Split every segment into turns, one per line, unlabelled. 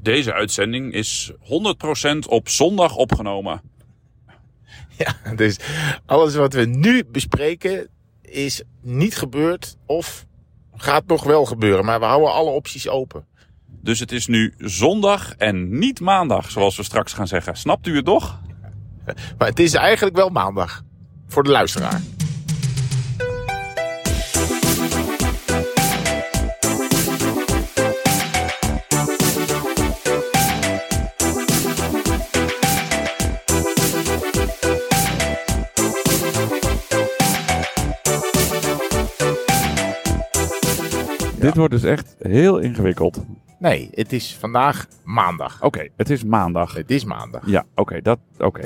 Deze uitzending is 100% op zondag opgenomen.
Ja, dus alles wat we nu bespreken is niet gebeurd of gaat nog wel gebeuren. Maar we houden alle opties open.
Dus het is nu zondag en niet maandag, zoals we straks gaan zeggen. Snapt u het toch?
Maar het is eigenlijk wel maandag voor de luisteraar.
Dit wordt dus echt heel ingewikkeld. Oké,
Nee, het is vandaag maandag.
het is maandag.
Het is maandag.
Ja, oké, dat. Oké.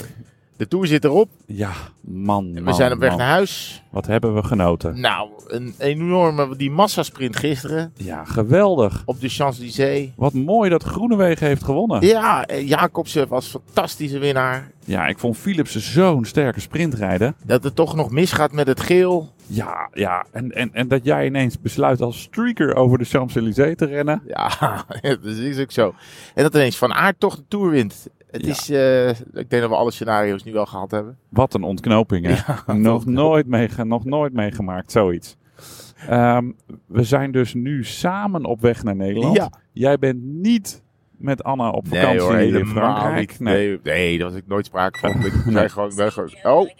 De tour zit erop.
Ja, man.
We
man,
zijn op weg
man.
naar huis.
Wat hebben we genoten?
Nou, een enorme die massasprint gisteren
Ja, geweldig.
op de Champs-Élysées.
Wat mooi dat Groenewegen heeft gewonnen.
Ja, eh, Jacobsen was fantastische winnaar.
Ja, ik vond Philipsen zo'n sterke sprintrijder.
Dat het toch nog misgaat met het geel.
Ja, ja. En, en, en dat jij ineens besluit als streaker over de Champs-Élysées te rennen.
Ja, dat is ook zo. En dat ineens Van Aert toch de Tour wint. Het
Ja.
is, eh, ik denk dat we alle scenario's nu wel gehad hebben.
Wat een ontknoping, hè? nog, nooit meege- nog nooit meegemaakt, zoiets. Ehm, we zijn dus nu samen op weg naar Nederland.
Ja.
Jij bent niet met Anna op vakantie in Frankrijk.
niet. Nee. nee, daar was ik nooit sprake van. Ik zei
Nee.
gewoon, ik ben gewoon- oh,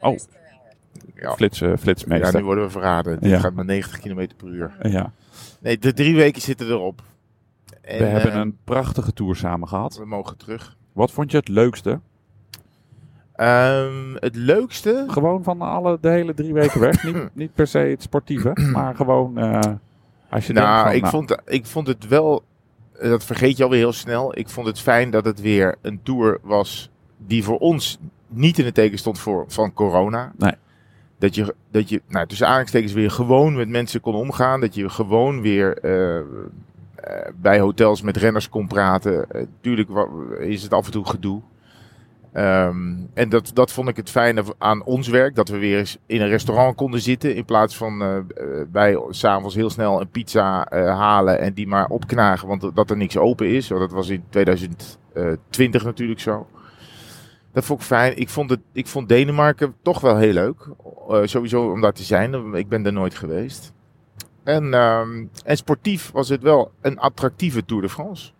Oh.
Ja.
Flitsen,
ja, nu
eh, flitsmeester.
worden we verraden. Dit
Ja.
gaat maar 90 km per uur.
Ja,
Nee, de drie weken zitten erop. En,
We hebben
eh,
een prachtige tour samen gehad.
We mogen terug.
Wat vond je het leukste?
Ehm, het leukste?
Gewoon van alle, de hele drie weken weg. niet, niet per se het sportieve, maar gewoon eh, als je denkt
Nou,
van,
ik,
nou,
Vond, ik vond het wel, eh, dat vergeet je alweer heel snel. Ik vond het fijn dat het weer een tour was die voor ons niet in het teken stond voor, van corona.
Nee.
Dat je, dat je nou, tussen aanhalingstekens weer gewoon met mensen kon omgaan. Dat je gewoon weer eh, eh, bij hotels met renners kon praten. Eh, tuurlijk wa- is het af en toe gedoe. Ehm, en dat, dat vond ik het fijne aan ons werk. Dat we weer eens in een restaurant konden zitten. In plaats van eh, eh, wij s'avonds heel snel een pizza eh, halen en die maar opknagen. Want dat er niks open is. Want dat was in 2020 natuurlijk zo. Dat vond ik fijn. Ik vond, het, ik vond Denemarken toch wel heel leuk. Eh, sowieso om daar te zijn. Ik ben er nooit geweest. En, ehm, en sportief was het wel een attractieve Tour de France.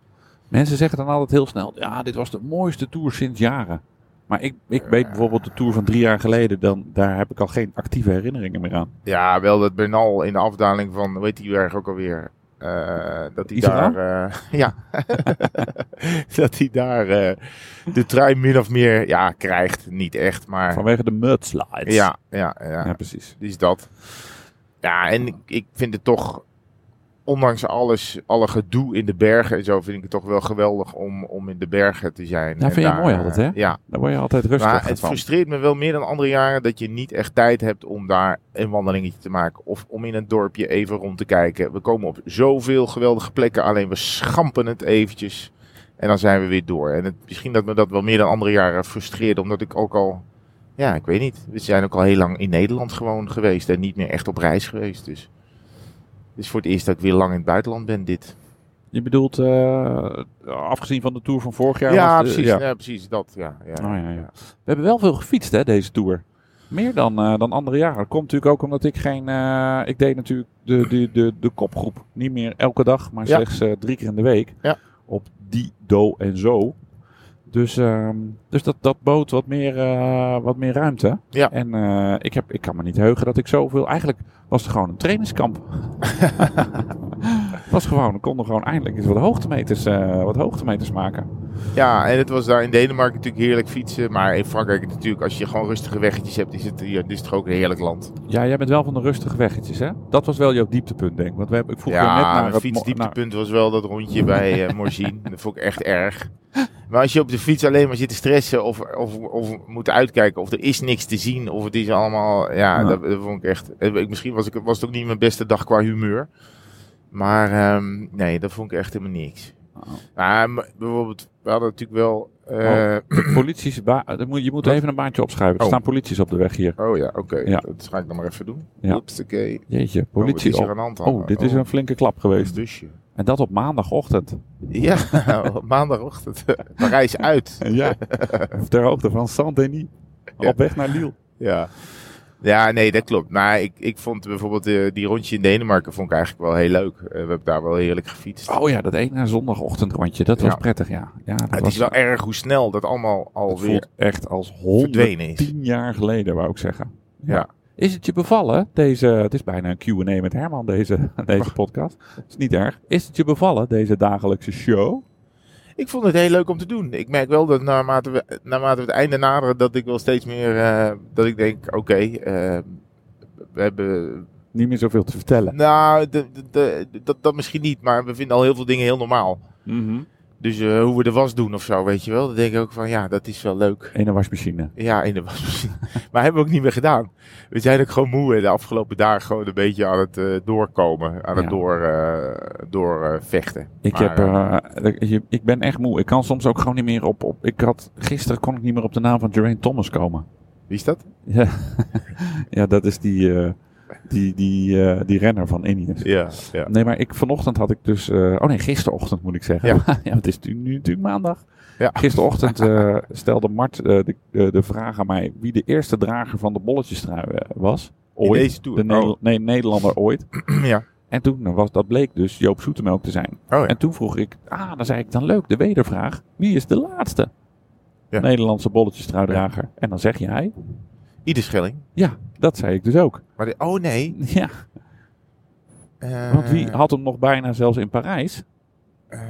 Mensen zeggen dan altijd heel snel, ja, dit was de mooiste tour sinds jaren. Maar ik, ik weet bijvoorbeeld de tour van drie jaar geleden, dan, daar heb ik al geen actieve herinneringen meer aan.
Ja, wel dat Bernal in de afdaling van, weet die berg ook alweer? eh, dat hij
Isera?
daar, eh, ja, dat hij daar eh, de trui min of meer, ja, krijgt. Niet echt, maar
Vanwege de mudslides.
ja, ja, ja,
ja, precies.
Dus dat. Ja, en ik, ik vind het toch, ondanks alles, alle gedoe in de bergen en zo, vind ik het toch wel geweldig om, om in de bergen te zijn.
Ja,
En
Nou,
eh,
vind je mooi altijd, hè?
Ja,
Daar word je altijd rustig
maar het
van.
frustreert me wel meer dan andere jaren dat je niet echt tijd hebt om daar een wandelingetje te maken. Of om in een dorpje even rond te kijken. We komen op zoveel geweldige plekken, alleen we schampen het eventjes. En dan zijn we weer door. En het, misschien dat me dat wel meer dan andere jaren frustreerde, omdat ik ook al... Ja, ik weet niet. We zijn ook al heel lang in Nederland gewoon geweest en niet meer echt op reis geweest. Dus het is voor het eerst dat ik weer lang in het buitenland ben dit.
Je bedoelt, eh, afgezien van de tour van vorig jaar.
Ja,
was de-
precies.
ja.
Ja. precies dat. Ja, ja,
Oh, ja, ja. We hebben wel veel gefietst, hè, deze tour. Meer dan, eh, dan andere jaren. Dat komt natuurlijk ook omdat ik geen... eh, ik deed natuurlijk de, de, de, de kopgroep. Niet meer elke dag, maar
Ja.
slechts eh, drie keer in de week.
Ja.
Op die, do en zo. Dus, ehm, dus dat, dat bood wat meer, eh, wat meer ruimte.
Ja.
En eh, ik, heb, ik kan me niet heugen dat ik zoveel... Eigenlijk was het gewoon een trainingskamp. Het was gewoon, we konden gewoon eindelijk eens wat hoogtemeters, eh, wat hoogtemeters maken.
Ja, en het was daar in Denemarken natuurlijk heerlijk fietsen. Maar in Frankrijk natuurlijk, als je gewoon rustige weggetjes hebt, is het, hier, is het toch ook een heerlijk land.
Ja, jij bent wel van de rustige weggetjes, hè? Dat was wel jouw dieptepunt, denk ik. Want we hebben, ik vroeg je net
ja,
naar
mijn
het mo- naar-
fietsdieptepunt was wel dat rondje bij eh Morzine. Dat vond ik echt erg. Maar als je op de fiets alleen maar zit te stressen of, of, of moet uitkijken of er is niks te zien of het is allemaal... Ja,
Ja.
Dat, dat vond ik echt... eh, ik- Misschien was, ik, was het ook niet mijn beste dag qua humeur. Maar ehm, nee, dat vond ik echt helemaal niks.
Oh.
Maar m- bijvoorbeeld, we hadden natuurlijk wel... eh,
Oh. de polities ba- er moet- je moet even een baantje opschrijven. Er
Oh.
staan polities op de weg hier.
Oh ja, oké.
Ja.
Dat ga ik dan maar even doen.
Ja.
Oeps, oké.
Jeetje,
Oh, wat
politie
is er
op.
aan de hand?
Oh, dit is een flinke klap
een
geweest.
busje.
En dat op maandagochtend.
Ja, op maandagochtend. Parijs uit.
Ja, ter hoogte van Saint-Denis. Op weg naar Lille.
Ja. Ja, nee, dat klopt. Maar ik, ik vond bijvoorbeeld eh, die rondje in Denemarken vond ik eigenlijk wel heel leuk. Eh, we hebben daar wel heerlijk gefietst.
Oh ja, dat ene zondagochtendrondje. Dat was
Ja.
prettig, ja. ja dat
Maar het
was,
is wel erg hoe snel dat allemaal
het
alweer
voelt echt als
verdwenen is.
110 jaar geleden, wou ik zeggen.
Ja.
Is het je bevallen, deze... Het is bijna een Q&A met Herman, deze, deze podcast. Dat is niet erg. Is het je bevallen, deze dagelijkse show?
Ik vond het heel leuk om te doen. Ik merk wel dat naarmate we, naarmate we het einde naderen, dat ik wel steeds meer, eh, dat ik denk, oké, eh, we hebben,
Niet meer zoveel te vertellen.
nou, de- de- de- dat, dat misschien niet, maar we vinden al heel veel dingen heel normaal.
Mhm.
Dus eh, hoe we de was doen of zo, weet je wel, dan denk ik ook van, ja, dat is wel leuk.
Ene wasmachine.
Ja, in de wasmachine. maar hebben we ook niet meer gedaan. We zijn ook gewoon moe en de afgelopen dagen gewoon een beetje aan het eh, doorkomen, aan het
Ja.
door, eh, door, eh, vechten.
Ik,
Maar,
heb, eh, je- ik ben echt moe. Ik kan soms ook gewoon niet meer op... op ik had, gisteren kon ik niet meer op de naam van Geraint Thomas komen.
Wie is dat?
Ja, ja dat is die, eh, die, die, eh, die renner van Ineos.
Ja, ja.
Nee, maar ik, vanochtend had ik dus... eh, oh nee, gisterochtend moet ik zeggen.
Ja.
Ja, want het is nu, nu natuurlijk maandag.
Ja.
Gisterochtend eh, stelde Mart eh, de, de, de vraag aan mij... wie de eerste drager van de bolletjestrui eh, was.
In
Ooit.
Oh, deze tour.
De Neder- nee, Nederlander ooit.
Oh, ja.
En toen was, dat bleek dus Joop Zoetemelk te zijn.
Oh, ja.
En toen vroeg ik... Ah, dan zei ik dan leuk, de wedervraag. Wie is de laatste
Ja.
Nederlandse bolletjestruidrager? En dan zeg je hij.
Ieder schelling.
Ja, dat zei ik dus ook.
Maar de- oh nee.
Ja,
eh,
want wie had hem nog bijna zelfs in Parijs?
eh,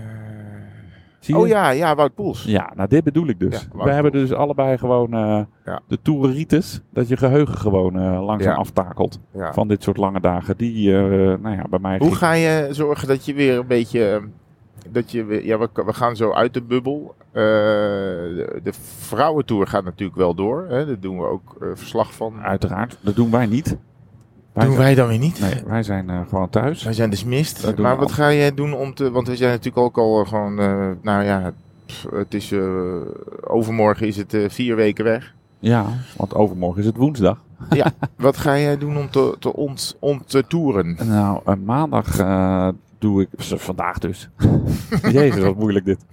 Zie je?
oh ja, ja, Wout Poels.
Ja, nou dit bedoel ik dus.
Ja,
We
wou ik
hebben
ook.
dus allebei gewoon eh,
Ja.
de toereritis. Dat je geheugen gewoon eh, langzaam
Ja.
aftakelt
Ja.
van dit soort lange dagen. Die, eh, nou ja, bij mij
Hoe
ging-
ga je zorgen dat je weer een beetje... eh, Dat je weer, ja, we, we gaan zo uit de bubbel. Eh, de, de vrouwentour gaat natuurlijk wel door. Hè? Daar doen we ook eh, verslag van.
Uiteraard, dat doen wij niet. Wij
doen
zijn,
wij dan weer niet?
Nee, wij zijn eh, gewoon thuis.
Wij zijn dus
Dat
mist.
doen
Maar
we
wat
al.
ga jij doen om te... Want we zijn natuurlijk ook al gewoon... eh, nou ja, pff, het is... eh, overmorgen is het eh, vier weken weg.
Ja, want overmorgen is het woensdag.
Wat ga jij doen om te, te, ont, om te toeren?
Nou, eh, maandag eh, doe ik... z- Vandaag dus. Jezus, wat moeilijk dit.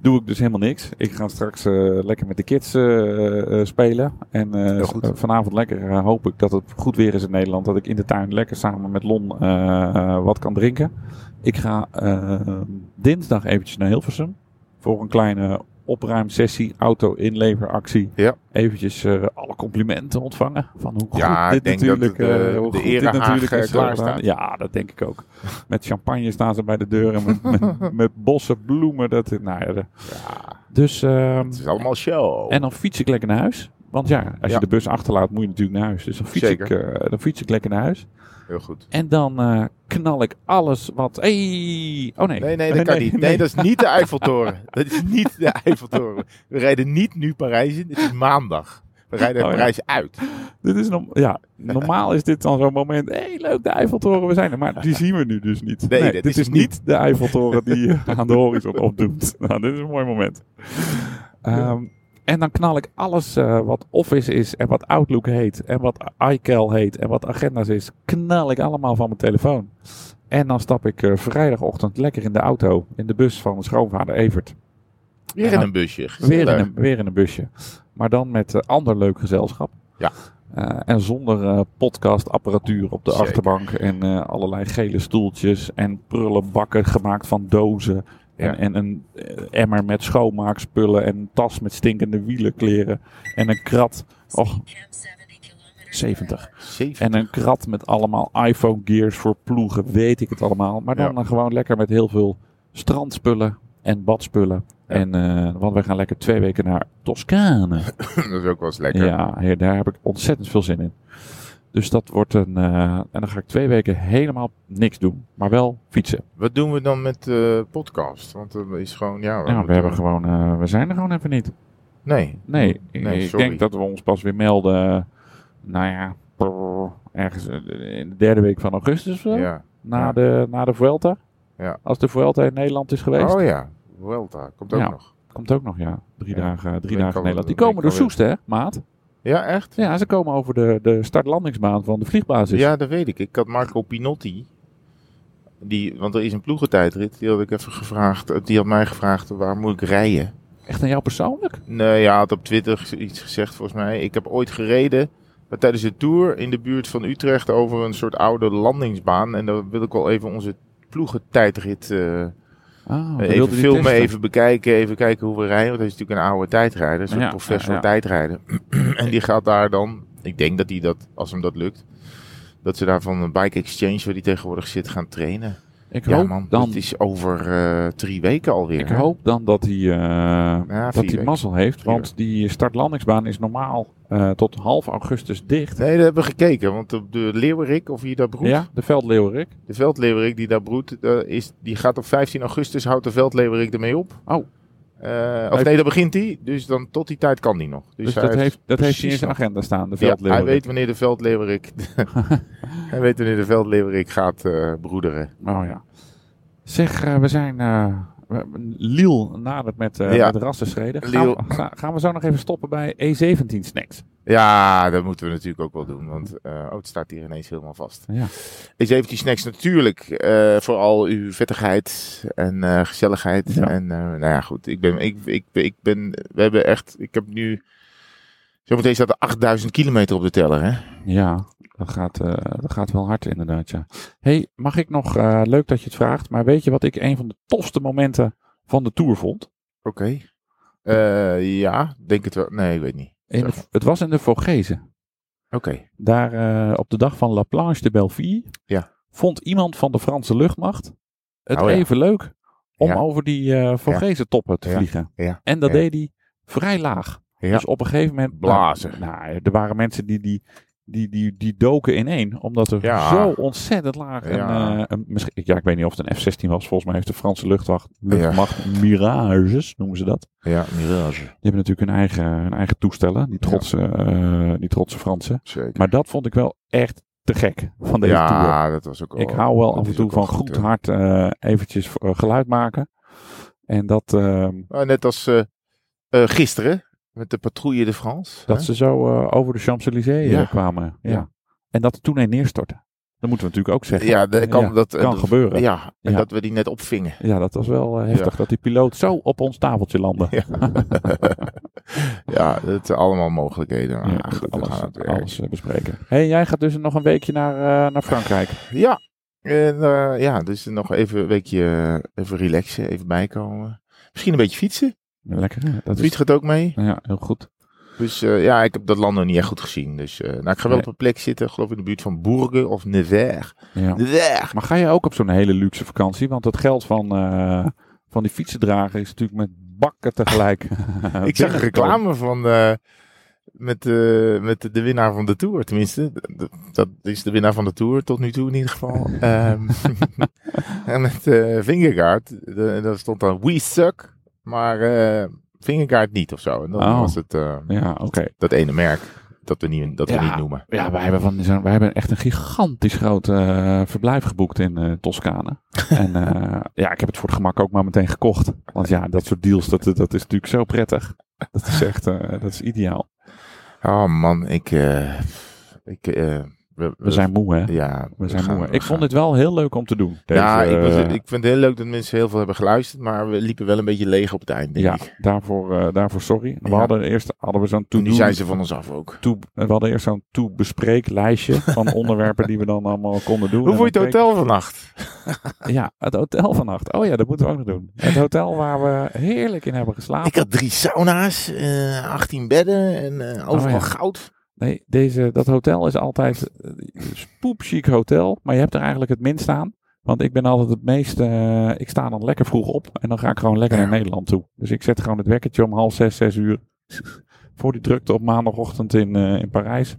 Doe ik dus helemaal niks. Ik ga straks eh, lekker met de kids eh, eh, spelen. En eh,
Heel goed.
eh, vanavond lekker eh, hoop ik dat het goed weer is in Nederland. Dat ik in de tuin lekker samen met Lon eh, eh, wat kan drinken. Ik ga eh, dinsdag eventjes naar Hilversum. Voor een kleine opruimsessie, auto-inleveractie.
Ja.
Eventjes eh, alle complimenten ontvangen. Van hoe goed
Ja,
dit
ik denk
natuurlijk,
dat de-
eh, hoe
de
goed dit
erehaag,
natuurlijk
eh,
is gedaan.
klaarstaat.
Ja, dat denk ik ook. Met champagne staan ze bij de deur en met, met, met bossen, bloemen. Dat, nou ja, de-
Ja,
dus, ehm,
het is allemaal show.
en dan fiets ik lekker naar huis. Want ja, als
Ja.
je de bus achterlaat, moet je natuurlijk naar huis. Dus dan fiets, ik,
Zeker.
eh, dan fiets ik lekker naar huis.
Heel goed.
En dan eh, knal ik alles wat... Hey! Oh nee.
Nee, nee, dat kan niet. Nee, dat is niet de Eiffeltoren. Dat is niet de Eiffeltoren. We rijden niet nu Parijs in. Het is maandag. We rijden
Oh, ja.
Parijs uit.
Dit is norm- ja, normaal is dit dan zo'n moment. Hé, hey, leuk, de Eiffeltoren, we zijn er. Maar die zien we nu dus niet.
Nee, dat
dit
is
is
het
niet de Eiffeltoren die eh, aan de horizon opdoemt. Nou, dit is een mooi moment. Ehm, en dan knal ik alles eh, wat Office is en wat Outlook heet en wat iCal heet en wat Agendas is, knal ik allemaal van mijn telefoon. En dan stap ik eh, vrijdagochtend lekker in de auto, in de bus van mijn schoonvader Evert.
Weer in een busje.
Weer in,
Gezellig.
een, weer in een busje. Maar dan met eh, ander leuk gezelschap.
Ja.
Eh, en zonder eh, podcastapparatuur op de
Zeker.
achterbank. En eh, allerlei gele stoeltjes. En prullenbakken gemaakt van dozen.
Ja.
En, en een eh, emmer met schoonmaakspullen. En een tas met stinkende wielenkleren. En een krat. Och, 70.
70.
En een krat met allemaal iPhone gears voor ploegen. Weet ik het allemaal. Maar dan,
Ja.
eh, gewoon lekker met heel veel strandspullen. En badspullen.
Ja.
En, eh, want we gaan lekker twee weken naar Toscane.
Dat is ook wel eens lekker.
Ja, heer, daar heb ik ontzettend veel zin in. Dus dat wordt een. eh, en dan ga ik twee weken helemaal niks doen. Maar wel fietsen.
Wat doen we dan met eh podcast? Want dat is gewoon... Ja,
Ja, we,
moeten-
hebben gewoon, eh, we zijn er gewoon even niet.
Nee.
Nee, ik-
Mm, Nee,
ik
sorry.
denk dat we ons pas weer melden. eh, Nou ja, brrr, ergens eh, in de derde week van augustus of zo.
Ja.
Na,
Ja.
de, na de Vuelta.
Ja.
Als de Vuelta in Nederland is geweest.
Oh ja. Welta. Komt ook
Ja.
nog.
Komt ook nog, ja. Drie
Oh. Ja.
dagen, drie
Week
dagen in
alweer,
Nederland. Die
week
komen door
alweer.
Soest, hè, maat?
Ja, echt?
Ja, ze komen Dus over de, de start-landingsbaan van de vliegbasis.
Ja, dat weet ik. Ik had Marco Pinotti Die, want er is een ploegentijdrit, die had ik even gevraagd. eh, Die had mij gevraagd, waar moet ik rijden?
Echt aan jou persoonlijk?
Nee, ja, had op Twitter iets gezegd volgens mij. Ik heb ooit gereden maar tijdens de Tour in de buurt van Utrecht over een soort oude landingsbaan. En daar wil ik wel even onze ploegentijdrit eh
Ah, we
even
wilden die
filmen,
testen.
even bekijken, even kijken hoe we rijden. Want hij is natuurlijk een oude tijdrijder, een soort
Ja,
professor
ja, ja.
tijdrijden. en die gaat daar dan, ik denk dat hij dat, als hem dat lukt, dat ze daar van een bike exchange waar die tegenwoordig zit gaan trainen.
Ik
Ja
hoop
man,
dan
dat is over eh, drie weken alweer.
Ik
hè?
hoop dan dat hij, eh,
vier
dat hij
weken.
mazzel heeft.
Vier
Want die startlandingsbaan is normaal eh, tot half augustus dicht.
Nee, daar hebben we gekeken, want op de Leeuwerik, of wie daar broedt,
Ja, de veldleeuwerik.
de veldleeuwerik die daar broedt, eh, is, die gaat op 15 augustus, houdt de veldleeuwerik ermee op.
Oh.
Eh, of nee, dan begint hij, dus dan tot die tijd kan die nog. Dus,
Dus
hij
dat heeft, dat heeft hij in
precies
zijn
nog-
agenda staan, de
Ja, hij
veldleeuwerik.
weet wanneer de veldleeuwerik. hij weet wanneer de veldleeuwerik gaat eh, broederen.
Oh ja. Zeg, eh, we zijn... eh, we- Liel nadert met, eh
Ja.
met rassenschreden. Gaan,
Liel.
we- ga- gaan we zo nog even stoppen bij E17 Snacks.
Ja, dat moeten we natuurlijk ook wel doen, want eh, oh, het staat hier ineens helemaal vast.
Ja.
Is even die snacks natuurlijk eh, voor al uw vettigheid en eh, gezelligheid.
Ja.
En eh, nou ja, goed, ik ben, ik, ik, ik ben, we hebben echt, ik heb nu, zometeen staat er 8000 kilometer op de teller, hè?
Ja, dat gaat, eh, dat gaat wel hard inderdaad, ja. hey, mag ik nog... eh, leuk dat je het vraagt, maar weet je wat ik een van de tofste momenten van de Tour vond?
Oké. Eh, ja, denk het wel. Nee, ik weet niet.
In de- het was in de Vogezen.
Oké.
Daar eh, op de dag van La Planche de Belleville
Ja.
vond iemand van de Franse luchtmacht het
Oh ja.
even leuk om
Ja.
over die eh Vogezen toppen te
Ja.
vliegen.
Ja.
En dat
Ja.
deed hij vrij laag.
Ja.
Dus op een gegeven moment...
Blazen.
Nou, nou, er waren mensen die, die, die, die, die doken ineen, omdat er
Ja.
zo ontzettend laag...
Ja.
Ja. Een, misschien, ja, ik weet niet of het een F-16 was. Volgens mij heeft de Franse luchtwacht, luchtmacht Mirages, noemen ze dat.
Ja, mirage.
Die hebben natuurlijk hun eigen, hun eigen toestellen, die trotse, eh, die trotse Fransen.
Zeker.
Maar dat vond ik wel echt te gek van deze tour.
ja, dat was ook wel.
Ik hou wel
dat
af en
is
toe
ook wel
van goed
hè.
hard eh, eventjes eh, geluid maken. En dat, eh,
Nou, net als eh, eh, gisteren met de patrouille de France.
dat
hè?
ze zo eh, over de Champs-Élysées
Ja.
eh, kwamen. Ja.
Ja.
En dat er toen een neerstortte. Dat moeten we natuurlijk ook zeggen.
ja, dat kan,
Ja,
dat,
kan
dat-
gebeuren.
Ja, en
Ja.
dat we die net opvingen.
Ja, dat was wel eh, heftig dat die piloot zo op ons tafeltje landde.
Ja. ja, dat zijn allemaal mogelijkheden. Maar
Ja,
goed, we gaan
alles,
het weer.
alles eh, bespreken. hey, jij gaat dus nog een weekje naar, eh, naar Frankrijk.
Ja. En, eh, ja, dus nog even een weekje eh, even relaxen, even bijkomen. Misschien een beetje fietsen.
Lekker. hè? Dat
De
is,
fiets gaat ook mee.
ja, heel goed.
Dus eh, ja, ik heb dat land nog niet echt goed gezien. Dus eh, nou, ik ga wel
Nee.
op een plek zitten, geloof ik in de buurt van Bourges of Nevers.
Ja.
Nevers!
Maar ga je ook op zo'n hele luxe vakantie? Want het geld van, eh, van die fietsendrager is natuurlijk met bakken tegelijk. Nou,
Ik zag een reclame van eh, met, eh, met de winnaar van de Tour. Tenminste, d- dat is de winnaar van de Tour tot nu toe in ieder geval. Ehm, en met eh Vingegaard, de- daar stond dan We Suck, maar eh Vingegaard niet of zo. En dan
Oh.
was het eh,
Ja, oké.
dat ene merk dat we niet, dat we
Ja.
niet noemen.
Ja, wij hebben, van, zo'n- wij hebben echt een gigantisch groot eh, verblijf geboekt in eh, Toscane. en eh, ja, ik heb het voor het gemak ook maar meteen gekocht. Want ja, dat soort deals, dat, dat is natuurlijk zo prettig. Dat is echt, eh, dat is ideaal.
Oh man, ik... eh, ik eh, we,
We zijn moe, hè?
Ja,
We zijn
gaan-
moe.
we
Ik
gaan.
vond dit wel heel leuk om te doen. Deze,
ja, ik, was-
eh,
ik vind het heel leuk dat mensen heel veel hebben geluisterd, maar we liepen wel een beetje leeg op het eind. Denk
ja,
ik.
daarvoor, eh, daarvoor sorry. We
Ja.
hadden eerst hadden we zo'n
Toen
to-do
die zijn ze van ons af ook.
toe, we hadden eerst zo'n toe-bespreeklijstje van onderwerpen die we dan allemaal konden doen.
Hoe vond je
En
het
dan keek-
hotel vannacht?
Ja, het hotel vannacht. Oh ja, dat moeten we ook nog doen. Het hotel waar we heerlijk in hebben geslapen.
Ik had drie sauna's, eh 18 bedden en eh, overal
ja.
goud.
Nee, deze, dat hotel is altijd eh, een spoepchic hotel, maar je hebt er eigenlijk het minst aan. Want ik ben altijd het meest, eh, ik sta dan lekker vroeg op en dan ga ik gewoon lekker naar
Ja.
Nederland toe. Dus ik zet gewoon het wekkertje om half zes, zes uur. Voor die drukte op maandagochtend in, eh, in Parijs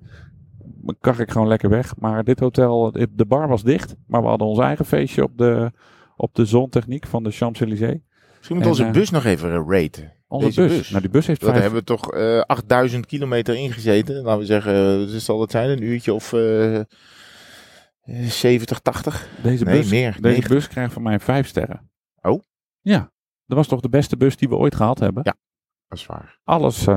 kar ik gewoon lekker weg. Maar dit hotel, de bar was dicht, maar we hadden ons eigen feestje op de, op de zontechniek van de Champs-Élysées.
Misschien moet
En,
onze
eh,
bus nog even eh, raten.
Onze
Deze
bus.
bus.
Nou, die bus heeft
Daar
vijf...
hebben we toch eh 8000 kilometer ingezeten. Laten we zeggen, eh, dus zal dat zijn? Een uurtje of eh, eh, 70, 80?
Deze
nee,
bus
meer.
Deze
90.
bus krijgt van mij vijf sterren.
Oh.
Ja. Dat was toch de beste bus die we ooit gehad hebben?
Ja. Dat is waar.
Alles. eh,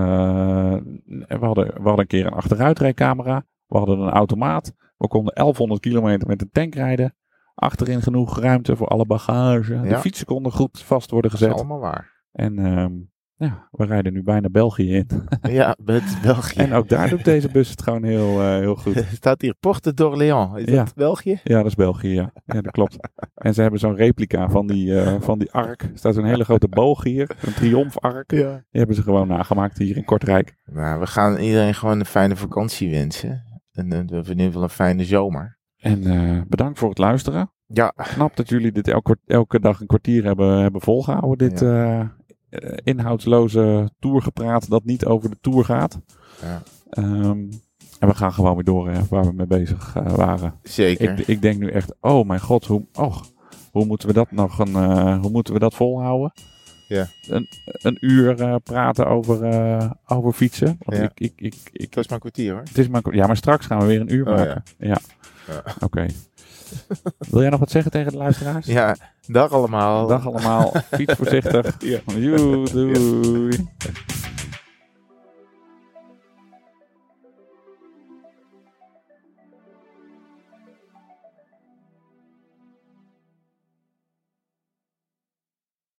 we, hadden, we hadden een keer een achteruitrijcamera. We hadden een automaat. We konden 1100 kilometer met een tank rijden. Achterin genoeg ruimte voor alle bagage. De
Ja.
fietsen konden goed vast worden
Dat is
gezet.
allemaal waar.
En ehm, ja, we rijden nu bijna België in.
ja, met België.
En ook daar doet deze bus het gewoon heel, eh, heel goed.
staat hier Porte d'Orléans. Is
Ja.
dat België?
Ja, dat is België, ja. Ja, dat klopt. En ze hebben zo'n replica van die, eh, van die ark. Er staat zo'n hele grote boog hier. Een triomfark. Die
Ja.
hebben ze gewoon nagemaakt hier in Kortrijk.
Nou, we gaan iedereen gewoon een fijne vakantie wensen. En eh, in ieder geval een fijne zomer.
En eh, bedankt voor het luisteren.
Ja,
Knap dat jullie dit elke, elke dag een kwartier hebben, hebben volgehouden. Dit eh, eh, inhoudsloze tourgepraat dat niet over de tour gaat.
Ja.
Ehm, en we gaan gewoon weer door eh, waar we mee bezig eh, waren.
zeker.
Ik, ik denk nu echt, oh mijn god, hoe, och, hoe moeten we dat nog een, eh, hoe moeten we dat volhouden?
Ja.
Een, een uur eh, praten over, eh, over fietsen. Want
Ja.
ik, ik, ik, ik,
Het was maar een kwartier hoor.
het is maar, ja, maar straks gaan we weer een uur
Oh,
maken. ja.
Ja.
Oké. Wil jij nog wat zeggen tegen de luisteraars?
Ja, dag allemaal.
Dag allemaal. Fiets voorzichtig.
Ja.
Joe, doei.